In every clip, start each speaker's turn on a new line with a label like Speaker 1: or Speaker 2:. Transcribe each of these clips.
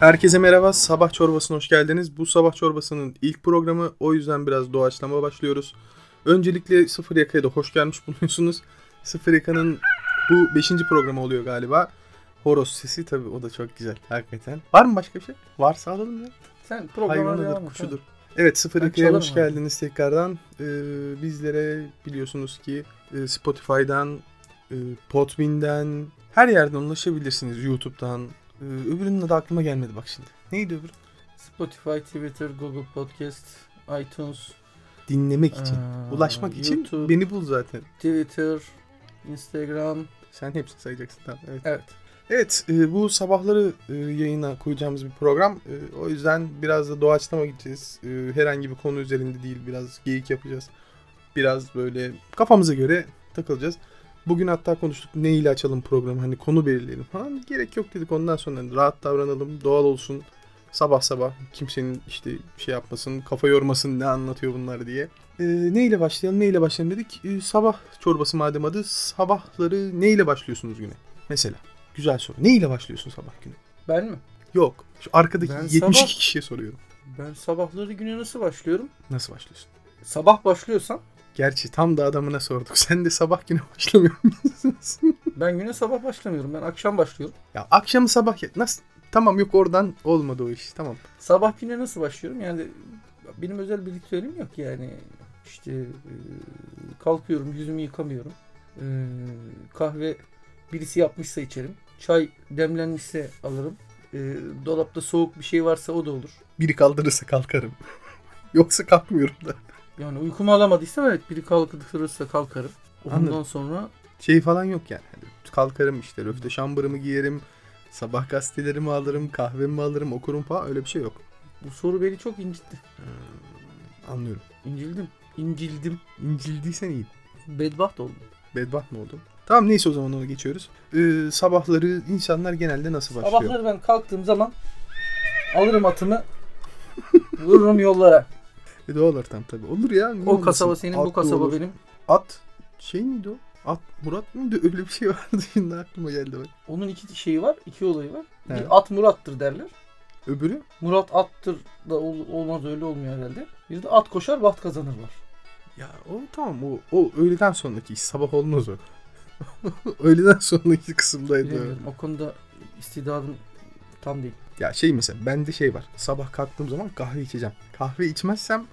Speaker 1: Herkese merhaba, Sabah Çorbası'na hoş geldiniz. Bu Sabah Çorbası'nın ilk programı, o yüzden biraz doğaçlama başlıyoruz. Öncelikle Sıfır Yaka'ya da hoş gelmiş bulunuyorsunuz. Sıfır Yaka'nın bu 5. programı oluyor galiba. Horoz sesi tabii o da çok güzel hakikaten. Var mı başka bir şey? Varsa alalım ya.
Speaker 2: Sen programa devam
Speaker 1: Hayvanıdır,
Speaker 2: et.
Speaker 1: kuşudur. Evet Sıfır
Speaker 2: Ben
Speaker 1: Yaka'ya hoş
Speaker 2: çalarım abi.
Speaker 1: geldiniz tekrardan. Ee, bizlere biliyorsunuz ki e, Spotify'dan, e, Podbean'den, her yerden ulaşabilirsiniz. YouTube'dan. Ee, öbürünün adı aklıma gelmedi bak şimdi. Neydi öbürü?
Speaker 2: Spotify, Twitter, Google Podcast, iTunes,
Speaker 1: Dinlemek için.
Speaker 2: eee,
Speaker 1: Ulaşmak için
Speaker 2: Ee, YouTube,
Speaker 1: beni bul zaten.
Speaker 2: Twitter, Instagram.
Speaker 1: Sen hepsini sayacaksın tamam. Evet.
Speaker 2: Evet.
Speaker 1: Evet, e, bu sabahları e, yayına koyacağımız bir program. E, o yüzden biraz da doğaçlama gideceğiz. E, herhangi bir konu üzerinde değil, biraz geyik yapacağız. Biraz böyle kafamıza göre takılacağız. Bugün hatta konuştuk ne ile açalım programı, hani konu belirleyelim falan. Gerek yok dedik ondan sonra hani rahat davranalım, doğal olsun. Sabah sabah kimsenin işte şey yapmasın, kafa yormasın ne anlatıyor bunlar diye. E, ne ile başlayalım, ne ile başlayalım dedik. E, sabah çorbası madem adı, sabahları ne ile başlıyorsunuz güne? Mesela. Güzel soru. Ne ile başlıyorsun sabah günü?
Speaker 2: Ben mi?
Speaker 1: Yok. Şu arkadaki
Speaker 2: Ben
Speaker 1: 72
Speaker 2: sabah-
Speaker 1: kişiye soruyorum.
Speaker 2: Ben sabahları güne nasıl başlıyorum?
Speaker 1: Nasıl başlıyorsun?
Speaker 2: Sabah başlıyorsam
Speaker 1: Gerçi tam da adamına sorduk. Sen de sabah günü başlamıyor musun?
Speaker 2: ben güne sabah başlamıyorum. Ben akşam başlıyorum.
Speaker 1: ya akşamı sabah ya- nasıl? Tamam yok oradan olmadı o iş. Tamam.
Speaker 2: Sabah güne nasıl başlıyorum? Yani benim özel birlikteliğim yok yani. İşte eee, kalkıyorum, yüzümü yıkamıyorum. Eee, kahve birisi yapmışsa içerim. Çay demlenmişse alırım. Eee, dolapta soğuk bir şey varsa o da olur.
Speaker 1: Biri kaldırırsa kalkarım. Yoksa kalkmıyorum da.
Speaker 2: Yani uykumu alamadıysam evet biri kalkırsa kalkarım. Ondan
Speaker 1: Anladım.
Speaker 2: sonra
Speaker 1: Şey falan yok yani. Hani kalkarım işte röfte şambırımı giyerim. Sabah gazetelerimi alırım, kahvemi alırım, okurum falan öyle bir şey yok.
Speaker 2: bu soru beni çok incitti.
Speaker 1: Anlıyorum.
Speaker 2: İncildim. İncildim.
Speaker 1: İncildiysen iyi.
Speaker 2: Bedbaht oldum.
Speaker 1: Bedbaht mı oldun? Tamam neyse o zaman onu geçiyoruz. Ee, sabahları insanlar genelde nasıl başlıyor?
Speaker 2: Sabahları ben kalktığım zaman alırım atımı vururum yollara.
Speaker 1: E doğal ortam tabii. Olur ya. niye
Speaker 2: O
Speaker 1: olmasın?
Speaker 2: kasaba senin, bu
Speaker 1: At da
Speaker 2: kasaba
Speaker 1: olur.
Speaker 2: benim.
Speaker 1: At şey miydi o? At Murat mıydı? Öyle bir şey vardı şimdi aklıma geldi bak.
Speaker 2: Onun iki şeyi var, iki olayı var.
Speaker 1: Evet.
Speaker 2: Bir at Murat'tır derler.
Speaker 1: Öbürü
Speaker 2: Murat attır da ol- olmaz öyle olmuyor herhalde. Bir de at koşar, baht kazanır var.
Speaker 1: ya o tamam o, o öğleden sonraki iş sabah olmaz o. öğleden sonraki kısımdaydı. o.
Speaker 2: Bilemiyorum. O konuda istidadım tam değil.
Speaker 1: Ya şey mesela bende şey var. Sabah kalktığım zaman kahve içeceğim. Kahve içmezsem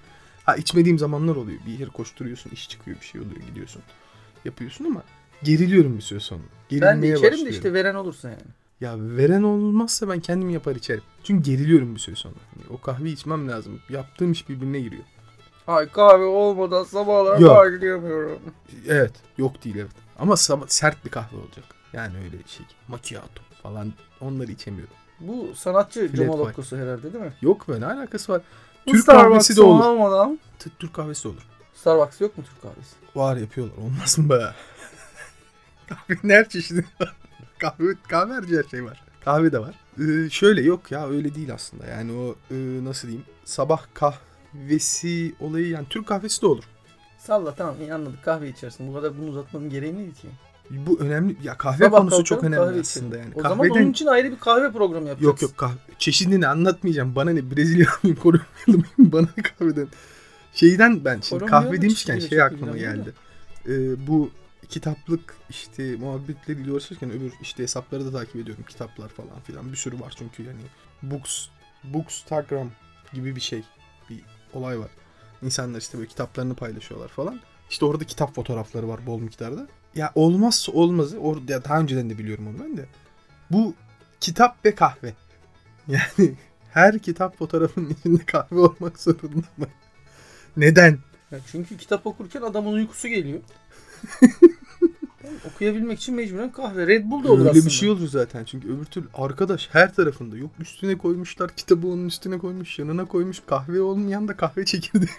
Speaker 1: ha içmediğim zamanlar oluyor. Bir yere koşturuyorsun, iş çıkıyor, bir şey oluyor, gidiyorsun. Yapıyorsun ama geriliyorum bir süre sonra.
Speaker 2: Ben de
Speaker 1: Gerilmeye
Speaker 2: içerim de
Speaker 1: başlıyorum.
Speaker 2: işte veren olursa yani.
Speaker 1: Ya veren olmazsa ben kendim yapar içerim. Çünkü geriliyorum bir süre sonra. Hani o kahve içmem lazım. Yaptığım iş birbirine giriyor.
Speaker 2: Ay kahve olmadan sabahlar
Speaker 1: Yok.
Speaker 2: başlayamıyorum.
Speaker 1: Evet. Yok değil evet. Ama sab- sert bir kahve olacak. Yani öyle şey. Macchiato falan onları içemiyorum.
Speaker 2: Bu sanatçı
Speaker 1: Filet
Speaker 2: Cemal
Speaker 1: var.
Speaker 2: Okkosu herhalde değil mi?
Speaker 1: Yok be ne alakası var?
Speaker 2: Bu
Speaker 1: Türk
Speaker 2: Starbucks'ı
Speaker 1: kahvesi de olur.
Speaker 2: olmadan
Speaker 1: T- Türk kahvesi de olur.
Speaker 2: Starbucks yok mu Türk kahvesi?
Speaker 1: Var yapıyorlar. Olmaz mı be? Kahvenin her çeşidi var. kahve, kahve harici her şey var. Kahve de var. Ee, şöyle yok ya öyle değil aslında. Yani o e, nasıl diyeyim sabah kahvesi olayı yani Türk kahvesi de olur.
Speaker 2: Salla tamam iyi anladık kahve içersin. Bu kadar bunu uzatmanın gereği neydi ki?
Speaker 1: Bu önemli. Ya kahve
Speaker 2: Sabah
Speaker 1: konusu
Speaker 2: kalkarım,
Speaker 1: çok önemli
Speaker 2: kahve içerim.
Speaker 1: aslında yani.
Speaker 2: O zaman onun için ayrı bir kahve programı yapacağız.
Speaker 1: Yok yok kahve. Çeşidini anlatmayacağım. Bana ne Brezilya mıyım, Kolombiyalı mıyım? Bana ne kahveden. Şeyden ben şimdi
Speaker 2: Kolombiyalı
Speaker 1: kahve demişken
Speaker 2: çeşidiyle
Speaker 1: şey
Speaker 2: çok
Speaker 1: aklıma
Speaker 2: ilgilenmiyorum
Speaker 1: geldi. Ee, bu kitaplık işte muhabbetleriyle uğraşırken öbür işte hesapları da takip ediyorum. Kitaplar falan filan bir sürü var çünkü yani books, bookstagram gibi bir şey. Bir olay var. İnsanlar işte böyle kitaplarını paylaşıyorlar falan. İşte orada kitap fotoğrafları var bol miktarda. Ya olmazsa olmazı or ya daha önceden de biliyorum onu ben de. Bu kitap ve kahve. Yani her kitap fotoğrafının içinde kahve olmak zorunda mı? Neden?
Speaker 2: Ya çünkü kitap okurken adamın uykusu geliyor. Okuyabilmek için mecburen kahve. Red Bull da olur
Speaker 1: Öyle
Speaker 2: aslında.
Speaker 1: bir şey olur zaten. Çünkü öbür türlü arkadaş her tarafında. Yok üstüne koymuşlar, kitabı onun üstüne koymuş, yanına koymuş. Kahve olmayan da kahve çekirdeği.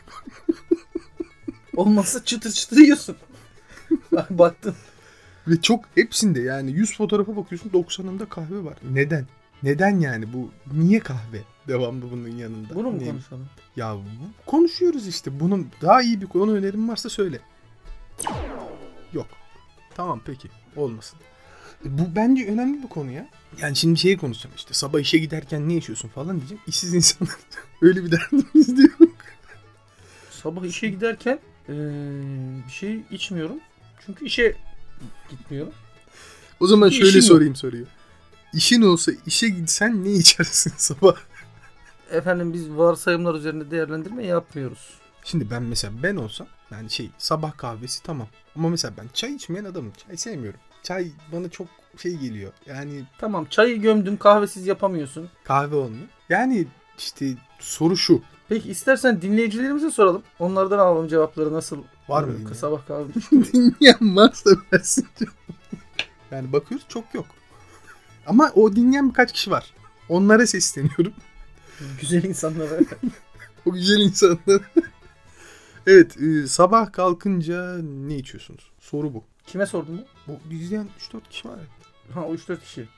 Speaker 2: Olmazsa çıtır çıtır yiyorsun. Bak baktın.
Speaker 1: Ve çok hepsinde yani 100 fotoğrafa bakıyorsun 90'ında kahve var. Neden? Neden yani bu? Niye kahve? Devamlı bunun yanında.
Speaker 2: Bunu mu
Speaker 1: Niye?
Speaker 2: konuşalım?
Speaker 1: Ya bu- konuşuyoruz işte. Bunun daha iyi bir konu önerim varsa söyle. Yok. Tamam peki. Olmasın. E, Bu bence önemli bir konu ya. Yani şimdi şeyi konuşacağım işte sabah işe giderken ne yaşıyorsun falan diyeceğim. İşsiz insanlar öyle bir derdimiz de yok.
Speaker 2: Sabah işe giderken eee, bir şey içmiyorum. Çünkü işe gitmiyorum.
Speaker 1: O zaman
Speaker 2: İşin
Speaker 1: şöyle
Speaker 2: yok.
Speaker 1: sorayım soruyu. İşin olsa işe gitsen ne içersin sabah?
Speaker 2: Efendim biz varsayımlar üzerinde değerlendirme yapmıyoruz.
Speaker 1: Şimdi ben mesela ben olsam yani şey sabah kahvesi tamam. Ama mesela ben çay içmeyen adamım. Çay sevmiyorum. Çay bana çok şey geliyor. Yani
Speaker 2: Tamam çayı gömdüm kahvesiz yapamıyorsun.
Speaker 1: kahve olmuyor. Yani işte soru şu.
Speaker 2: Peki istersen dinleyicilerimize soralım. Onlardan alalım cevapları nasıl?
Speaker 1: Var
Speaker 2: eee,
Speaker 1: mı dinleyen?
Speaker 2: Sabah kahve.
Speaker 1: dinleyen varsa versin. yani bakıyoruz çok yok. Ama o dinleyen birkaç kişi var. Onlara sesleniyorum.
Speaker 2: Güzel insanlara.
Speaker 1: O güzel insanlar. evet e, sabah kalkınca ne içiyorsunuz? Soru bu.
Speaker 2: Kime sordun bu?
Speaker 1: Bu izleyen 3-4 kişi var.
Speaker 2: Ha o 3-4 kişi.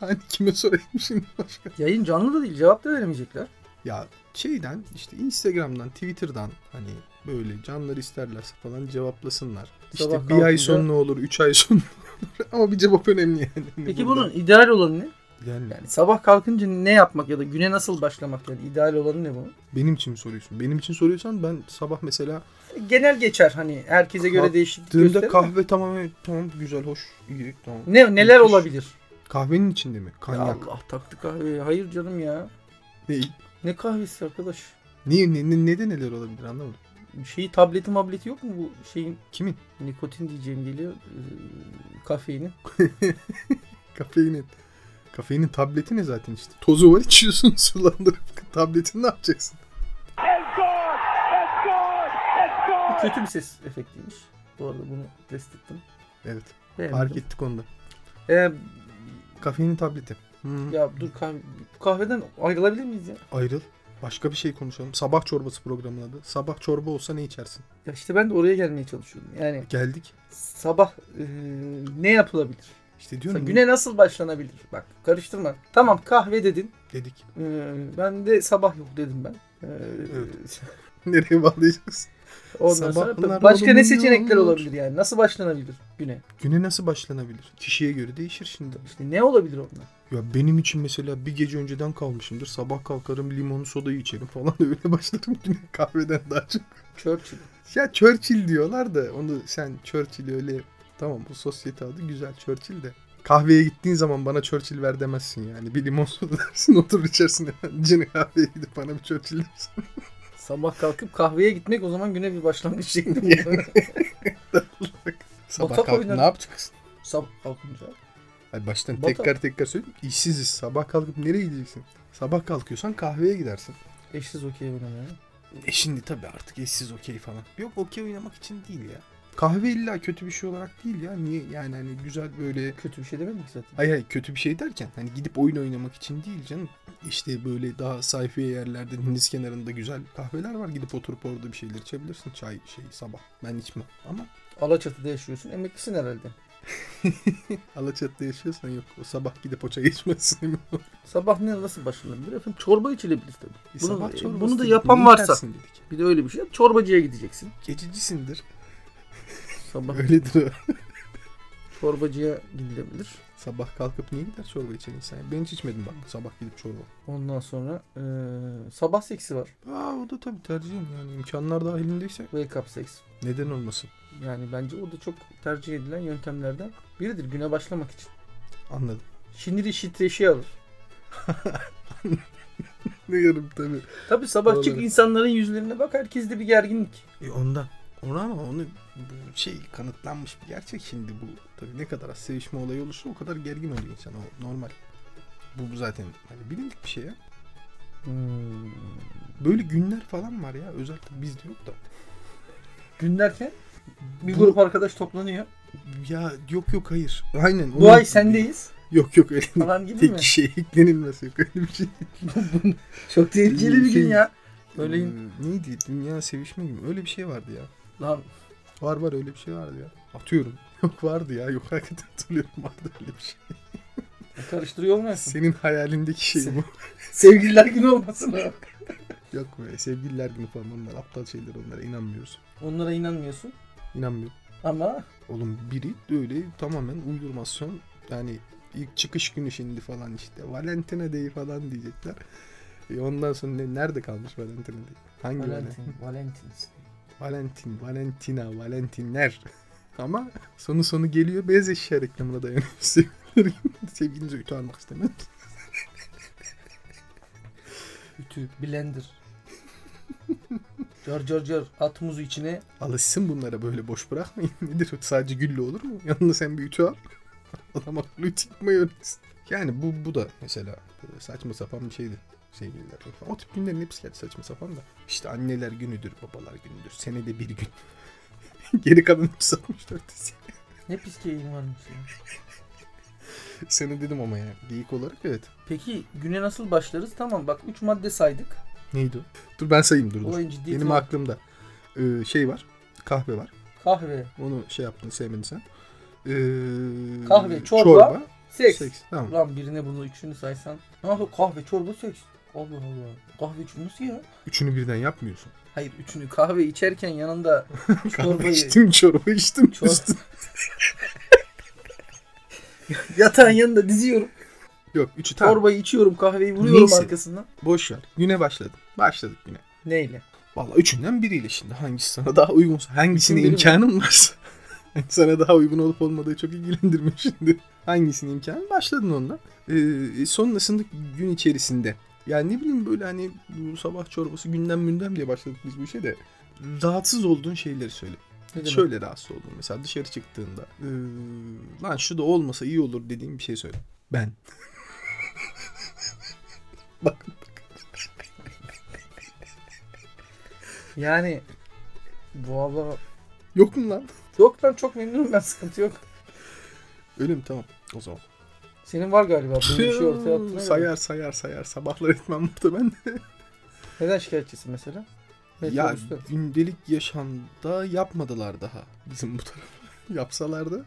Speaker 1: yani kime sorayım şimdi başka?
Speaker 2: Yayın canlı da değil cevap da veremeyecekler.
Speaker 1: Ya şeyden işte Instagram'dan, Twitter'dan hani böyle canlar isterlerse falan cevaplasınlar. İşte
Speaker 2: Sabah
Speaker 1: bir ay
Speaker 2: kalkınca-
Speaker 1: sonra ne olur, üç ay sonra ne olur. Ama bir cevap önemli yani. Hani
Speaker 2: Peki
Speaker 1: burada-
Speaker 2: bunun ideal olanı ne?
Speaker 1: Yani
Speaker 2: Yani sabah kalkınca ne yapmak ya da güne nasıl başlamak yani ideal olanı ne bunun?
Speaker 1: benim için mi soruyorsun? Benim için soruyorsan ben sabah mesela
Speaker 2: Genel geçer hani herkese göre
Speaker 1: Kalktığımda
Speaker 2: değişiklik gösterir.
Speaker 1: Dığımda
Speaker 2: mi?
Speaker 1: kahve tamamen tamam güzel, hoş, iyi, tamam.
Speaker 2: Ne neler
Speaker 1: Müthiş.
Speaker 2: olabilir?
Speaker 1: Kahvenin içinde mi?
Speaker 2: Ya
Speaker 1: Kanyak.
Speaker 2: Allah taktı kahveyi. Hayır canım ya.
Speaker 1: Ne,
Speaker 2: Ne kahvesi arkadaş?
Speaker 1: niye, ne, ne, neden neler olabilir anlamadım.
Speaker 2: Şeyi tableti mableti yok mu bu şeyin
Speaker 1: Kimin?
Speaker 2: nikotin diyeceğim geliyor ee, kafeinin.
Speaker 1: Kafeinin. Kafeinin tableti ne zaten işte. Tozu var içiyorsun sulandırıp. Tabletini ne yapacaksın?
Speaker 2: Bu kötü bir ses efektiymiş. Bu arada bunu test ettim.
Speaker 1: Evet.
Speaker 2: Beğenmedim.
Speaker 1: Fark ettik onda.
Speaker 2: Ee,
Speaker 1: Kafeinin tableti. Hı.
Speaker 2: ya dur kahve, bu kahveden ayrılabilir miyiz ya?
Speaker 1: Ayrıl. Başka bir şey konuşalım. Sabah çorbası programının adı. Sabah çorba olsa ne içersin? E,
Speaker 2: Ya işte ben de oraya gelmeye çalışıyorum. Yani
Speaker 1: Geldik.
Speaker 2: sabah ee, ne yapılabilir?
Speaker 1: İşte
Speaker 2: Mesela
Speaker 1: diyorum
Speaker 2: güne nasıl başlanabilir? Bak karıştırma. Tamam kahve dedin.
Speaker 1: dedik.
Speaker 2: Ee, ben de sabah yok dedim ben. Ee,
Speaker 1: Evet. Nereye bağlayacaksın?
Speaker 2: Ondan
Speaker 1: Sabahlar
Speaker 2: sonra başka ne
Speaker 1: oluyor.
Speaker 2: seçenekler olabilir yani? Nasıl başlanabilir güne?
Speaker 1: Güne nasıl başlanabilir? Kişiye göre değişir şimdi.
Speaker 2: İşte ne olabilir onlar?
Speaker 1: Ya benim için mesela bir gece önceden kalmışımdır. Sabah kalkarım limonlu sodayı içerim falan öyle başlarım güne kahveden daha çok.
Speaker 2: Churchill.
Speaker 1: Ya Churchill diyorlar da onu sen Churchill öyle tamam bu sosyete adı güzel Churchill de. Kahveye gittiğin zaman bana Churchill ver demezsin yani. Bir limon soda dersin oturur içersin. Cine kahveye gidip bana bir Churchill dersin.
Speaker 2: Sabah kalkıp kahveye gitmek o zaman güne bir başlangıç şekli.
Speaker 1: Yani.
Speaker 2: bu.
Speaker 1: Sabah
Speaker 2: Batak
Speaker 1: kalk
Speaker 2: oynar.
Speaker 1: ne yapacaksın?
Speaker 2: Sabah kalkınca.
Speaker 1: Ay baştan
Speaker 2: Batak.
Speaker 1: tekrar tekrar söyleyeyim. İşsiziz. Sabah kalkıp nereye gideceksin? Sabah kalkıyorsan kahveye gidersin.
Speaker 2: Eşsiz okey oynamaya.
Speaker 1: E şimdi tabii artık eşsiz okey falan. Yok okey oynamak için değil ya. Kahve illa kötü bir şey olarak değil ya. Niye yani hani güzel böyle
Speaker 2: Kötü bir şey demedim ki zaten.
Speaker 1: Hayır hayır kötü bir şey derken hani gidip oyun oynamak için değil canım. İşte böyle daha sayfiye yerlerde deniz kenarında güzel kahveler var. Gidip oturup orada bir şeyler içebilirsin. Çay şey sabah. Ben içmem. Ama
Speaker 2: Alaçatı'da yaşıyorsun. Emeklisin herhalde.
Speaker 1: Alaçatı'da yaşıyorsan yok. O sabah gidip o çay içmezsin. emin ol.
Speaker 2: Sabah ne nasıl başlanabilir? Efendim çorba içilebilir tabii.
Speaker 1: E,
Speaker 2: Bunu-
Speaker 1: sabah
Speaker 2: e,
Speaker 1: çorbası
Speaker 2: bunu da
Speaker 1: dedik,
Speaker 2: yapan
Speaker 1: ne
Speaker 2: varsa.
Speaker 1: içersin dedik.
Speaker 2: Bir de öyle bir şey. yap. Çorbacıya gideceksin.
Speaker 1: Geçicisindir.
Speaker 2: Sabah
Speaker 1: Öyledir o.
Speaker 2: çorbacıya gidilebilir.
Speaker 1: Sabah kalkıp niye gider çorba içen insan? ya? Ben hiç içmedim bak sabah gidip çorba.
Speaker 2: Ondan sonra eee, sabah seksi var.
Speaker 1: Aa o da tabii tercihim yani imkanlar dahilindeyse
Speaker 2: Wake up seks.
Speaker 1: neden olmasın?
Speaker 2: Yani bence o da çok tercih edilen yöntemlerden biridir güne başlamak için.
Speaker 1: Anladım.
Speaker 2: Şiniri şitreşi alır.
Speaker 1: Diyorum tabii.
Speaker 2: Tabi sabah çık
Speaker 1: Olabilir.
Speaker 2: insanların yüzlerine bak herkeste bir gerginlik.
Speaker 1: E ondan. Ona ama onu bu şey kanıtlanmış bir gerçek şimdi bu. Tabii ne kadar az sevişme olayı olursa o kadar gergin oluyor insan. O normal. Bu bu zaten hani bilindik bir şey ya.
Speaker 2: Hmm.
Speaker 1: Böyle günler falan var ya. Özellikle bizde yok da.
Speaker 2: Gün derken bir
Speaker 1: Bu-
Speaker 2: grup arkadaş toplanıyor.
Speaker 1: Ya yok yok hayır. Aynen.
Speaker 2: Bu ay sendeyiz
Speaker 1: Yok yok öyle değil.
Speaker 2: falan gibi mi?
Speaker 1: Tek kişiye eklenilmez yok öyle bir şey.
Speaker 2: Çok tehlikeli bir gün ya. Öyle
Speaker 1: Ee, neydi? Dünya sevişme gibi. mi? Öyle bir şey vardı ya.
Speaker 2: lan
Speaker 1: Var var öyle bir şey vardı ya. Atıyorum. Yok vardı ya. Yok hakikaten hatırlıyorum vardı öyle bir şey.
Speaker 2: karıştırıyor olmasın.
Speaker 1: Senin hayalindeki şey bu.
Speaker 2: Sevgililer günü olmasın ha.
Speaker 1: Yok be sevgililer günü falan onlar aptal şeyler onlara inanmıyoruz.
Speaker 2: Onlara inanmıyorsun
Speaker 1: İnanmıyorum.
Speaker 2: ama
Speaker 1: Oğlum biri öyle tamamen uydurmasyon Yani ilk çıkış günü şimdi falan işte. Valentina Day falan diyecekler. E ondan sonra ne, nerede kalmış Valentina Day? Hangi Valentin?
Speaker 3: Valentin, Valentins.
Speaker 1: Valentin, Valentina, Valentinler. Ama sonu sonu geliyor beyaz eşya reklamına dayanıyor. Sevgilileri- Sevgilinize ütü almak istemez.
Speaker 2: Ütü, blender. Car car car at muzu içine.
Speaker 1: Alışsın bunlara böyle boş bırakmayın. Nedir o? Sadece gülle olur mu? Yanına sen bir ütü al. Adam akıllı çıkmayı öğrensin. Yani bu, bu da mesela böyle saçma sapan bir şeydi. Sevgililer günü falan. O tip günlerin hepsi gerçi saçma sapan da. İşte anneler günüdür, babalar günüdür. Senede bir gün. Geri kalan hepsi 64
Speaker 2: Ne pis geyiğin varmış ya.
Speaker 1: Sene dedim ama yani. Geyik olarak evet.
Speaker 2: Peki güne nasıl başlarız? Tamam bak 3 madde saydık.
Speaker 1: Neydi o? Dur ben sayayım dur dur.
Speaker 2: Olayın ciddiyeti
Speaker 1: Benim
Speaker 2: yok.
Speaker 1: aklımda e, şey var. Kahve var.
Speaker 2: Kahve,
Speaker 1: Onu şey yaptın sevmedin sen. E,
Speaker 2: Kahve, çorba, seks.
Speaker 1: Seks. Tamam.
Speaker 2: Lan birine bunu üçünü saysan. Ne yapıyor? Kahve, çorba, seks. Allah Allah. Kahve üçünü nasıl ya?
Speaker 1: Üçünü birden yapmıyorsun.
Speaker 2: Hayır üçünü kahve içerken yanında
Speaker 1: Kahve
Speaker 2: çorbayı
Speaker 1: içtim, çorba içtim.
Speaker 2: Çor-
Speaker 1: üstüne-
Speaker 2: yatağın yanında diziyorum.
Speaker 1: Yok, üçü tamam.
Speaker 2: Çorbayı içiyorum kahveyi vuruyorum
Speaker 1: Neyse.
Speaker 2: arkasından.
Speaker 1: Boş ver. Güne başladım. Başladık güne.
Speaker 2: Neyle?
Speaker 1: Valla üçünden biriyle şimdi. Hangisi sana daha uygunsa, hangisine
Speaker 2: Üçün biri mi?
Speaker 1: imkanın varsa. sana daha uygun olup olmadığı çok ilgilendirmiyor şimdi. Hangisinin imkanı? Başladın onunla. Ee, sonrasında gün içerisinde. Yani ne bileyim böyle hani bu sabah çorbası gündem mündem diye başladık biz bu işe de. Rahatsız olduğun şeyleri söyle.
Speaker 2: Ne demek?
Speaker 1: Şöyle rahatsız oldum mesela dışarı çıktığında. "Ee, lan şu da olmasa iyi olur dediğim bir şey söyle. Ben. Bak
Speaker 2: Yani bu abla
Speaker 1: yok mu lan?
Speaker 2: yok lan çok memnunum ben sıkıntı yok.
Speaker 1: Öyle mi tamam o zaman.
Speaker 2: Senin var galiba böyle bir şey ortaya attığına göre.
Speaker 1: sayar sayar sayar sabahlar etmem burada ben.
Speaker 2: Neden şikayetçisin mesela?
Speaker 1: ya
Speaker 2: Metrobüste.
Speaker 1: gündelik yaşamda yapmadılar daha bizim bu taraf. Yapsalardı.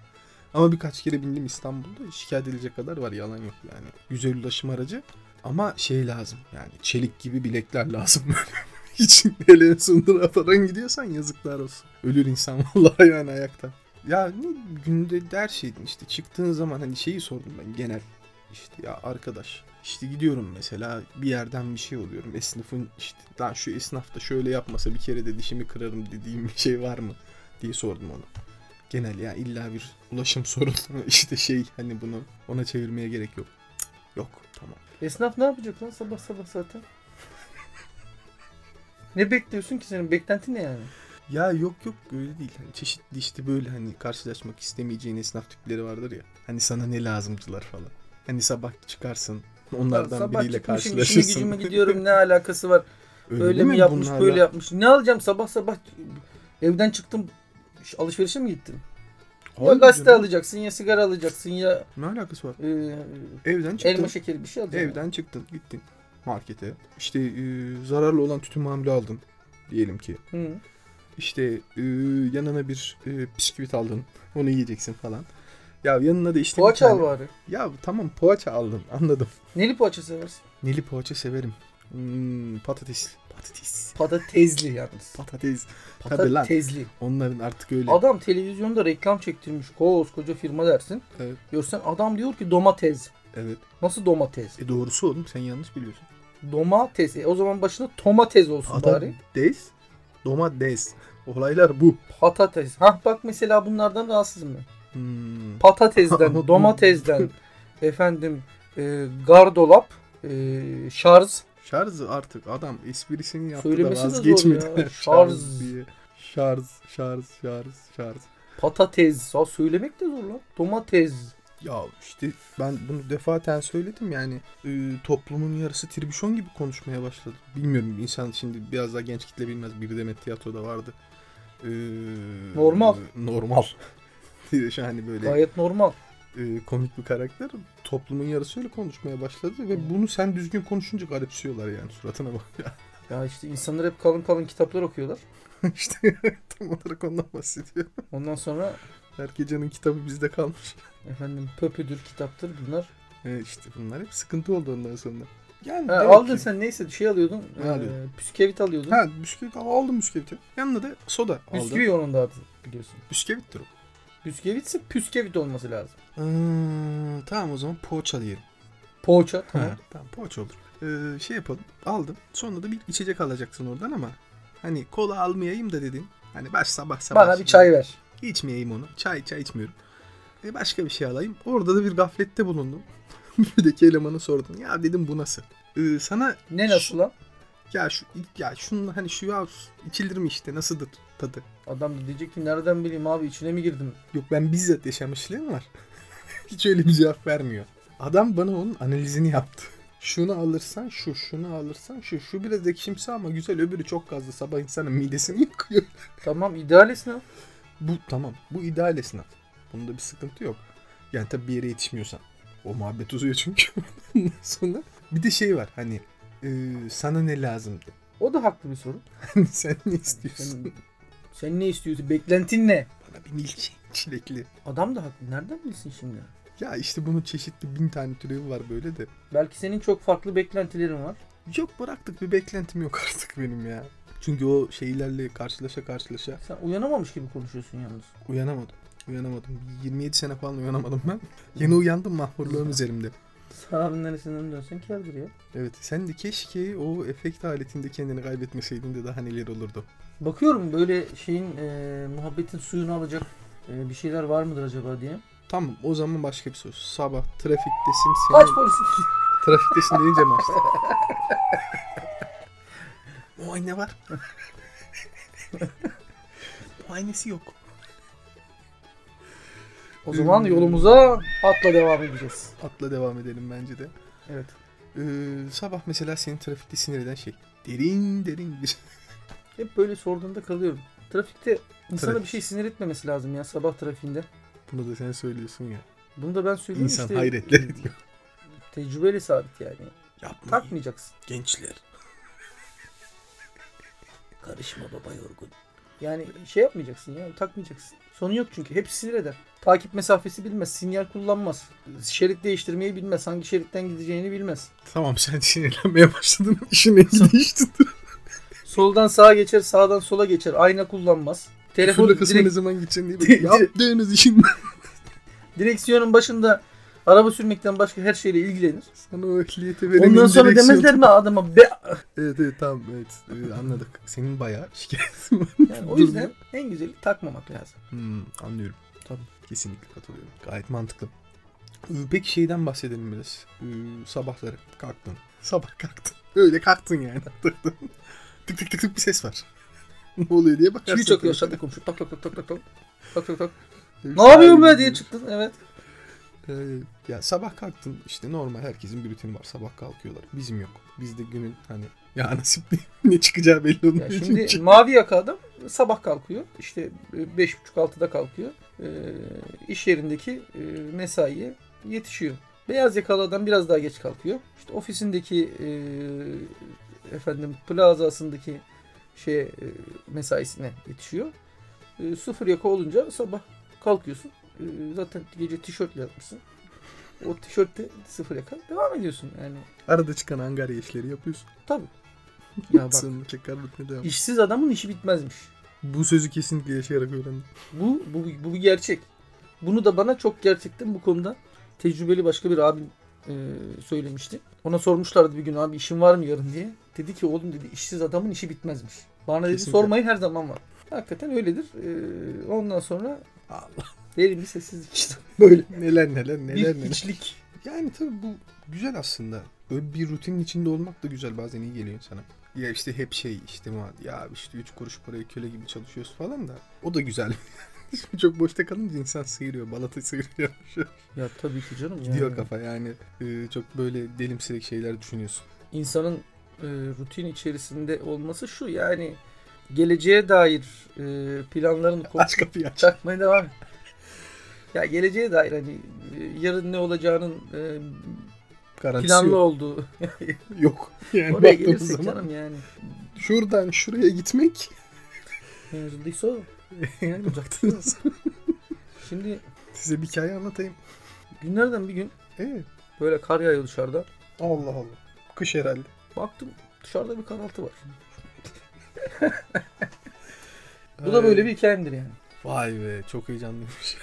Speaker 1: Ama birkaç kere bindim İstanbul'da şikayet edilecek kadar var yalan yok yani. Güzel ulaşım aracı ama şey lazım yani çelik gibi bilekler lazım böyle. İçin hele sundur falan gidiyorsan yazıklar olsun. Ölür insan vallahi yani ayakta. Ya ne günde her şeydin işte çıktığın zaman hani şeyi sordum ben genel işte ya arkadaş işte gidiyorum mesela bir yerden bir şey oluyorum esnafın işte daha şu esnaf da şöyle yapmasa bir kere de dişimi kırarım dediğim bir şey var mı diye sordum ona. Genel ya illa bir ulaşım sorunu işte şey hani bunu ona çevirmeye gerek yok. Cık, Yok tamam.
Speaker 2: Esnaf ne yapacak lan sabah sabah zaten? ne bekliyorsun ki senin? Beklentin ne yani?
Speaker 1: Ya yok yok öyle değil. Hani çeşitli işte böyle hani karşılaşmak istemeyeceğin esnaf tipleri vardır ya. Hani sana ne lazımcılar falan. Hani sabah çıkarsın onlardan
Speaker 2: Lan sabah
Speaker 1: biriyle
Speaker 2: çıkmışım,
Speaker 1: karşılaşırsın.
Speaker 2: işime gücüme gidiyorum ne alakası var? Öyle, mi, yapmış
Speaker 1: Bunlarla-
Speaker 2: böyle yapmış? Ne alacağım sabah sabah evden çıktım ş- alışverişe mi gittin? ya
Speaker 1: Hayır
Speaker 2: gazete
Speaker 1: canım,
Speaker 2: alacaksın ya sigara alacaksın ya
Speaker 1: Ne alakası var?
Speaker 2: e,
Speaker 1: Evden çıktın.
Speaker 2: elma şekeri bir şey alacaksın.
Speaker 1: Evden çıktın gittin markete. İşte e, zararlı olan tütün mamülü aldın diyelim ki.
Speaker 2: Hı.
Speaker 1: İşte e, yanına bir e, bisküvit aldın. Onu yiyeceksin falan. Ya yanına da işte
Speaker 2: Poğaça
Speaker 1: bir
Speaker 2: al
Speaker 1: tane...
Speaker 2: bari.
Speaker 1: Ya tamam poğaça aldım anladım.
Speaker 2: Neli poğaça seversin?
Speaker 1: Neli poğaça severim. Hmm, patates. Patates.
Speaker 2: Patatesli yalnız.
Speaker 1: Patates. Tabii lan.
Speaker 2: Patatesli.
Speaker 1: Onların artık öyle.
Speaker 2: Adam televizyonda reklam çektirmiş koskoca firma dersin.
Speaker 1: Evet.
Speaker 2: Görsen adam diyor ki domates.
Speaker 1: Evet.
Speaker 2: Nasıl domates?
Speaker 1: E doğrusu oğlum sen yanlış biliyorsun.
Speaker 2: Domates. E, o zaman başına tomates olsun bari.
Speaker 1: Patates. Domates. Olaylar bu.
Speaker 2: Patates. Hah bak mesela bunlardan rahatsızım ben.
Speaker 1: Hmm.
Speaker 2: Patatesden, domatesden, efendim e, gardolap, e, şarj.
Speaker 1: Şarj artık adam esprisini yaptı
Speaker 2: Söylemesi
Speaker 1: da
Speaker 2: de zor
Speaker 1: vazgeçmedi.
Speaker 2: ya. Şarj.
Speaker 1: şarj diye. Şarj, şarj, şarj, şarj.
Speaker 2: Patates. Ha, söylemek de zor lan. Domates.
Speaker 1: Ya işte ben bunu defaten söyledim yani e, toplumun yarısı tribüşon gibi konuşmaya başladı. Bilmiyorum insan şimdi biraz daha genç kitle bilmez. Bir demet tiyatroda vardı. E,
Speaker 2: Normal.
Speaker 1: Normal. Şu hani böyle
Speaker 2: Gayet normal.
Speaker 1: e, komik bir karakter. Toplumun yarısı öyle konuşmaya başladı ve bunu sen düzgün konuşunca garipsiyorlar yani suratına bak ya.
Speaker 2: Ya işte insanlar hep kalın kalın kitaplar okuyorlar.
Speaker 1: işte tam olarak ondan bahsediyor.
Speaker 2: Ondan sonra
Speaker 1: Erkecan'ın kitabı bizde kalmış.
Speaker 2: efendim pöpüdür, kitaptır bunlar.
Speaker 1: E, işte bunlar hep sıkıntı oldu ondan sonra. Yani
Speaker 2: Ha,
Speaker 1: demek
Speaker 2: aldın
Speaker 1: ki-
Speaker 2: sen neyse şey alıyordun.
Speaker 1: Ne alıyordum?
Speaker 2: E, püskevit alıyordun.
Speaker 1: Ha bisküvit al- aldım bisküviti. Yanına da soda aldım.
Speaker 2: Bisküvi onun da adı biliyorsun.
Speaker 1: Bisküvittir o.
Speaker 2: Püskevit ise püskevit olması lazım.
Speaker 1: Iıı, Ee, tamam o zaman poğaça diyelim.
Speaker 2: Poğaça
Speaker 1: Ha,
Speaker 2: tamam.
Speaker 1: tamam poğaça olur. Ee, şey yapalım. Aldım. Sonra da bir içecek alacaksın oradan ama hani kola almayayım da dedin. Hani baş sabah sabah.
Speaker 2: Bana bir
Speaker 1: şimdi
Speaker 2: çay ver.
Speaker 1: İçmeyeyim onu. Çay çay içmiyorum. E başka bir şey alayım. Orada da bir gaflette bulundum. Müdeki elemana sordum. Ya dedim bu nasıl? Ee, sana
Speaker 2: Ne nasıl lan?
Speaker 1: ya şu ya şunun hani şu ya içilir mi işte nasıldır tadı?
Speaker 2: Adam da diyecek ki nereden bileyim abi içine mi girdim?
Speaker 1: Yok ben bizzat yaşamışlığım var. Hiç öyle bir cevap vermiyor. Adam bana onun analizini yaptı. Şunu alırsan şu, şunu alırsan şu. Şu biraz ekşimsi ama güzel öbürü çok gazlı. Sabah insanın midesini yıkıyor.
Speaker 2: Tamam ideal esnaf.
Speaker 1: Bu tamam. Bu ideal esnaf. Bunda bir sıkıntı yok. Yani tabii bir yere yetişmiyorsan. O muhabbet uzuyor çünkü. Ondan sonra bir de şey var hani e, sana ne lazımdı?
Speaker 2: O da haklı bir soru.
Speaker 1: Hani sen ne istiyorsun?
Speaker 2: Sen, sen ne istiyorsun? Beklentin ne?
Speaker 1: Bana bir milkshake çilekli.
Speaker 2: Adam da haklı. Nereden bilsin şimdi?
Speaker 1: Ya işte bunun çeşitli bin tane türevi var böyle de.
Speaker 2: Belki senin çok farklı beklentilerin var.
Speaker 1: Yok bıraktık bir beklentim yok artık benim ya. Çünkü o şeylerle karşılaşa karşılaşa
Speaker 2: Sen uyanamamış gibi konuşuyorsun yalnız.
Speaker 1: uyanamadım. Uyanamadım. 27 sene falan uyanamadım ben. Yeni uyandım mahmurluğum üzerimde.
Speaker 2: Sahabin neresinden dönsen kârdır ya.
Speaker 1: Evet sen de keşke o efekt aletinde kendini kaybetmeseydin de daha neler olurdu.
Speaker 2: Bakıyorum böyle şeyin e, muhabbetin suyunu alacak e, bir şeyler var mıdır acaba diye.
Speaker 1: Tamam o zaman başka bir söz. Sabah trafiktesin seni...
Speaker 2: Kaç polis geliyor?
Speaker 1: Trafiktesin deyince mi açtın? Muayene var. Muayenesi yok.
Speaker 2: O zaman yolumuza atla devam edeceğiz.
Speaker 1: Atla devam edelim bence de.
Speaker 2: Evet.
Speaker 1: Ee, sabah mesela seni trafikte sinir eden şey. Derin derin bir...
Speaker 2: Hep böyle sorduğunda kalıyorum. Trafikte insana
Speaker 1: Trafik.
Speaker 2: bir şey sinir etmemesi lazım ya sabah trafiğinde.
Speaker 1: Bunu da sen söylüyorsun ya.
Speaker 2: Bunu da ben söylüyorum
Speaker 1: İnsan
Speaker 2: işte.
Speaker 1: hayretle
Speaker 2: e,
Speaker 1: diyor.
Speaker 2: Tecrübeyle sabit yani.
Speaker 1: Yapma
Speaker 2: Takmayacaksın.
Speaker 1: gençler.
Speaker 2: E, Karışma baba yorgun. Yani şey yapmayacaksın ya takmayacaksın. Sonu yok çünkü. Hepsi sinir eder. Takip mesafesi bilmez. Sinyal kullanmaz. Şerit değiştirmeyi bilmez. Hangi şeritten gideceğini bilmez.
Speaker 1: Tamam sen sinirlenmeye başladın. İşin rengi değişti.
Speaker 2: Soldan sağa geçer. Sağdan sola geçer. Ayna kullanmaz. Telefonu
Speaker 1: Telefonu kısmı ne
Speaker 2: direkt,
Speaker 1: zaman gideceğini diye bekliyor.
Speaker 2: Direkt-
Speaker 1: Yaptığınız işin
Speaker 2: direksiyonun başında araba sürmekten başka her şeyle ilgilenir.
Speaker 1: sana o ehliyeti verenin
Speaker 2: Ondan sonra
Speaker 1: direksiyon-
Speaker 2: demezler mi adama be
Speaker 1: Evet evet tamam evet Ee, anladık. Senin bayağı şikayetin var.
Speaker 2: Yani o yüzden en güzeli takmamak lazım.
Speaker 1: Hmm, anlıyorum.
Speaker 2: Tabii.
Speaker 1: Kesinlikle katılıyorum. Gayet mantıklı. Ee, Peki şeyden bahsedelim biraz. Ee, sabahları kalktın. Sabah kalktın. Öyle kalktın yani. tık tık tık tık bir ses var. ne oluyor diye bakarsın.
Speaker 2: Çivi çakıyor
Speaker 1: tabii.
Speaker 2: aşağıda komşu. Tak tak tak tak tak tak. Tak tak tak. Ne yapıyorsun be diye çıktın. Evet.
Speaker 1: Ee, ya sabah kalktın işte normal herkesin bir rutini var. Sabah kalkıyorlar. Bizim yok. Bizde günün hani ya nasip değil, ne çıkacağı belli olmuyor.
Speaker 2: Ya şimdi
Speaker 1: çünkü.
Speaker 2: mavi yaka adam sabah kalkıyor. e, İşte 5.30-6'da kalkıyor. Ee, iş yerindeki e, mesaiye yetişiyor. Beyaz yakalı adam biraz daha geç kalkıyor. İşte ofisindeki e, efendim plazasındaki şey e, mesaisine yetişiyor. E, sıfır yaka olunca sabah kalkıyorsun. E, zaten gece tişörtle yatmışsın. O tişörtte sıfır yaka devam ediyorsun yani.
Speaker 1: Arada çıkan angarya işleri yapıyorsun.
Speaker 2: Tabii. Ya bak
Speaker 1: Sonra tekrar rutine devam.
Speaker 2: işsiz adamın işi bitmezmiş.
Speaker 1: Bu sözü kesinlikle yaşayarak öğrendim.
Speaker 2: Bu, bu, bu bir gerçek. Bunu da bana çok gerçekten bu konuda tecrübeli başka bir abim e, söylemişti. Ona sormuşlardı bir gün abi işin var mı yarın diye. Dedi ki oğlum dedi işsiz adamın işi bitmezmiş. Bana dedi
Speaker 1: Kesinlikle.
Speaker 2: sormayı her zaman var. Hakikaten öyledir. E, ondan sonra
Speaker 1: Allah.
Speaker 2: derin bir sessizlik işte.
Speaker 1: Böyle neler neler neler
Speaker 2: bir
Speaker 1: neler.
Speaker 2: içlik.
Speaker 1: Yani tabii bu güzel aslında. Böyle bir rutinin içinde olmak da güzel bazen iyi geliyor insana. Ya işte hep şey işte ma- ya işte 3 kuruş paraya köle gibi çalışıyoruz falan da o da güzel. Şimdi çok boşta kalınca insan sıyırıyor, balata sıyırıyor.
Speaker 2: Ya tabii ki canım.
Speaker 1: Gidiyor
Speaker 2: yani.
Speaker 1: kafa yani e, çok böyle delimsilik şeyler düşünüyorsun.
Speaker 2: insanın e, rutin içerisinde olması şu yani geleceğe dair e, planların
Speaker 1: Aç kapıyı aç.
Speaker 2: Çakmaya devam. et. Ya geleceğe dair hani e, yarın ne olacağının e,
Speaker 1: Garantisi
Speaker 2: planlı
Speaker 1: yok.
Speaker 2: olduğu.
Speaker 1: Yok. Yani
Speaker 2: Oraya
Speaker 1: baktığımız
Speaker 2: gelirsek
Speaker 1: zaman
Speaker 2: canım yani.
Speaker 1: Şuradan şuraya gitmek.
Speaker 2: Mevzudaysa o.
Speaker 1: yani baktınız.
Speaker 2: Şimdi
Speaker 1: Size bir hikaye anlatayım.
Speaker 2: günlerden bir gün
Speaker 1: Evet.
Speaker 2: böyle kar yağıyor dışarıda.
Speaker 1: Allah Allah. Kış herhalde.
Speaker 2: Baktım dışarıda bir karaltı var. Bu da böyle bir hikayemdir yani.
Speaker 1: Vay be çok heyecanlıymış.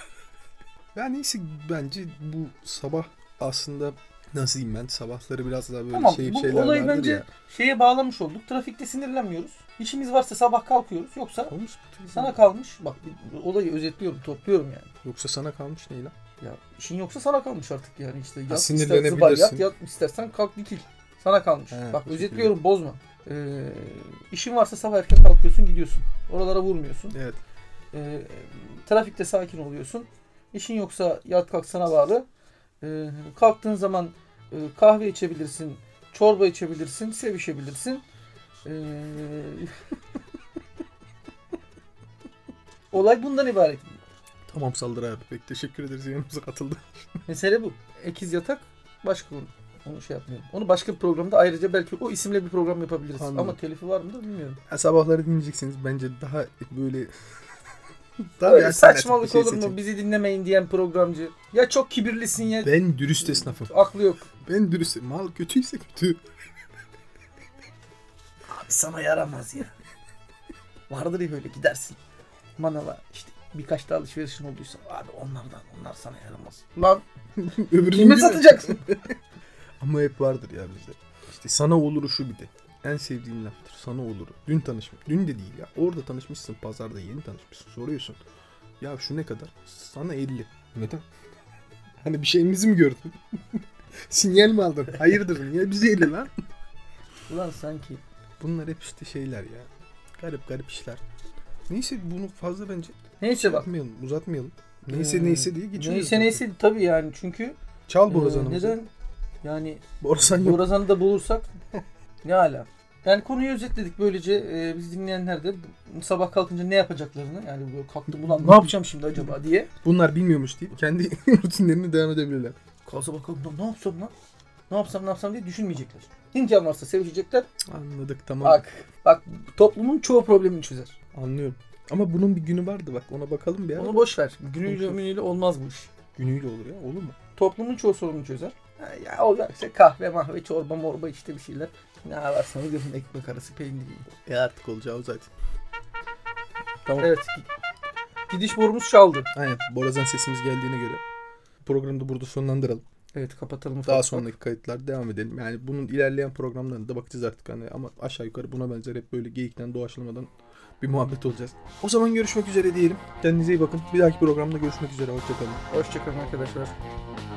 Speaker 1: Yani neyse bence bu sabah aslında nasıl diyeyim ben sabahları biraz daha böyle
Speaker 2: Tamam
Speaker 1: şey
Speaker 2: bu
Speaker 1: şeyler
Speaker 2: olayı
Speaker 1: vardır
Speaker 2: bence
Speaker 1: ya.
Speaker 2: şeye bağlamış olduk. Trafikte sinirlenmiyoruz. İşimiz varsa sabah kalkıyoruz. Yoksa
Speaker 1: Olmuş mu tabii?
Speaker 2: sana kalmış. Bak bir- olayı özetliyorum, topluyorum yani.
Speaker 1: Yoksa sana kalmış ne lan?
Speaker 2: Ya işin yoksa sana kalmış artık yani işte yat istersen
Speaker 1: sinirlenebilirsin.
Speaker 2: zıbay yat, yat istersen kalk dikil. Sana kalmış.
Speaker 1: He,
Speaker 2: Bak
Speaker 1: teşekkür
Speaker 2: özetliyorum bozma. Ee, işin varsa sabah erken kalkıyorsun gidiyorsun. Oralara vurmuyorsun.
Speaker 1: Evet.
Speaker 2: Ee, trafikte sakin oluyorsun. İşin yoksa yat kalk sana bağlı. Ee, kalktığın zaman e, kahve içebilirsin, çorba içebilirsin, sevişebilirsin. Ee, Olay bundan ibaret.
Speaker 1: Tamam saldır abi. Peki teşekkür ederiz yanımıza katıldı.
Speaker 2: Mesele bu. Ekiz yatak başka konu. Onu şey yapmıyorum. Onu başka bir programda ayrıca belki o isimle bir program yapabiliriz.
Speaker 1: Anladım.
Speaker 2: Ama telifi var mıdır bilmiyorum.
Speaker 1: Ha, sabahları dinleyeceksiniz. Bence daha böyle... daha
Speaker 2: Böyle
Speaker 1: bir alternatif
Speaker 2: saçmalık
Speaker 1: bir şey
Speaker 2: olur mu?
Speaker 1: seçin.
Speaker 2: Bizi dinlemeyin diyen programcı. Ya çok kibirlisin ya
Speaker 1: Ben dürüst esnafım.
Speaker 2: aklı yok.
Speaker 1: Ben dürüst. Mal kötüyse kötü.
Speaker 2: Abi sana yaramaz ya. Vardır ya böyle gidersin. Manava işte birkaç da alışverişin olduysa abi onlardan onlar sana yaramaz. Lan
Speaker 1: Öbürünü
Speaker 2: kime
Speaker 1: bilmiyorum.
Speaker 2: satacaksın?
Speaker 1: Ama hep vardır ya bizde. İşte sana oluru şu bir de. En sevdiğim laftır. Sana oluru. Dün tanışmış. Dün de değil ya. Orada tanışmışsın. Pazarda yeni tanışmışsın. Soruyorsun. Ya şu ne kadar? Sana 50. Neden? Hani bir şeyimizi mi gördün? Sinyal mi aldın? Hayırdır? Niye bize 50 lan?
Speaker 2: Ulan sanki
Speaker 1: Bunlar hep işte şeyler ya. Garip garip işler. Neyse bunu fazla bence
Speaker 2: Neyse bak.
Speaker 1: uzatmayalım. Uzatmayalım. Neyse
Speaker 2: Ee,
Speaker 1: neyse diye geçiyoruz.
Speaker 2: Neyse
Speaker 1: zaten.
Speaker 2: neyse tabii yani çünkü
Speaker 1: Çal
Speaker 2: e,
Speaker 1: borazanımızı.
Speaker 2: neden yani
Speaker 1: Borazan yok.
Speaker 2: Borazan'ı da bulursak ne ala. Yani konuyu özetledik böylece e, biz dinleyenler de bu- sabah kalkınca ne yapacaklarını yani böyle kalktım ulan ne yapacağım şimdi acaba diye.
Speaker 1: Bunlar bilmiyormuş deyip kendi rutinlerini devam edebilirler.
Speaker 2: Kalk sabah kalktım ne yapsam lan? Ne yapsam ne yapsam diye düşünmeyecekler. İmkan varsa sevişecekler.
Speaker 1: Anladık tamam.
Speaker 2: Bak bak toplumun çoğu problemini çözer.
Speaker 1: Anlıyorum. Ama bunun bir günü vardı bak ona bakalım bir ara.
Speaker 2: Onu boş ver. Günüyle
Speaker 1: Konuşuruz.
Speaker 2: münüyle olmaz bu iş.
Speaker 1: Günüyle olur ya olur mu?
Speaker 2: Toplumun çoğu sorununu çözer. Ha, Ya olacaksa kahve mahve çorba morba işte bir şeyler. Ne ararsanız yapın ekmek arası peynir. yiyin.
Speaker 1: E artık olacağı o zaten. Tamam.
Speaker 2: Evet. Gidiş borumuz çaldı.
Speaker 1: Aynen. Borazan sesimiz geldiğine göre programı da burada sonlandıralım.
Speaker 2: Evet kapatalım.
Speaker 1: Daha
Speaker 2: ufak ufak.
Speaker 1: sonraki kayıtlar devam edelim. Yani bunun ilerleyen programlarında da bakacağız artık hani ama aşağı yukarı buna benzer hep böyle geyikten doğaçlamadan bir muhabbet olacağız. O zaman görüşmek üzere diyelim. Kendinize iyi bakın. Bir dahaki programda görüşmek üzere. Hoşçakalın.
Speaker 2: Hoşçakalın arkadaşlar.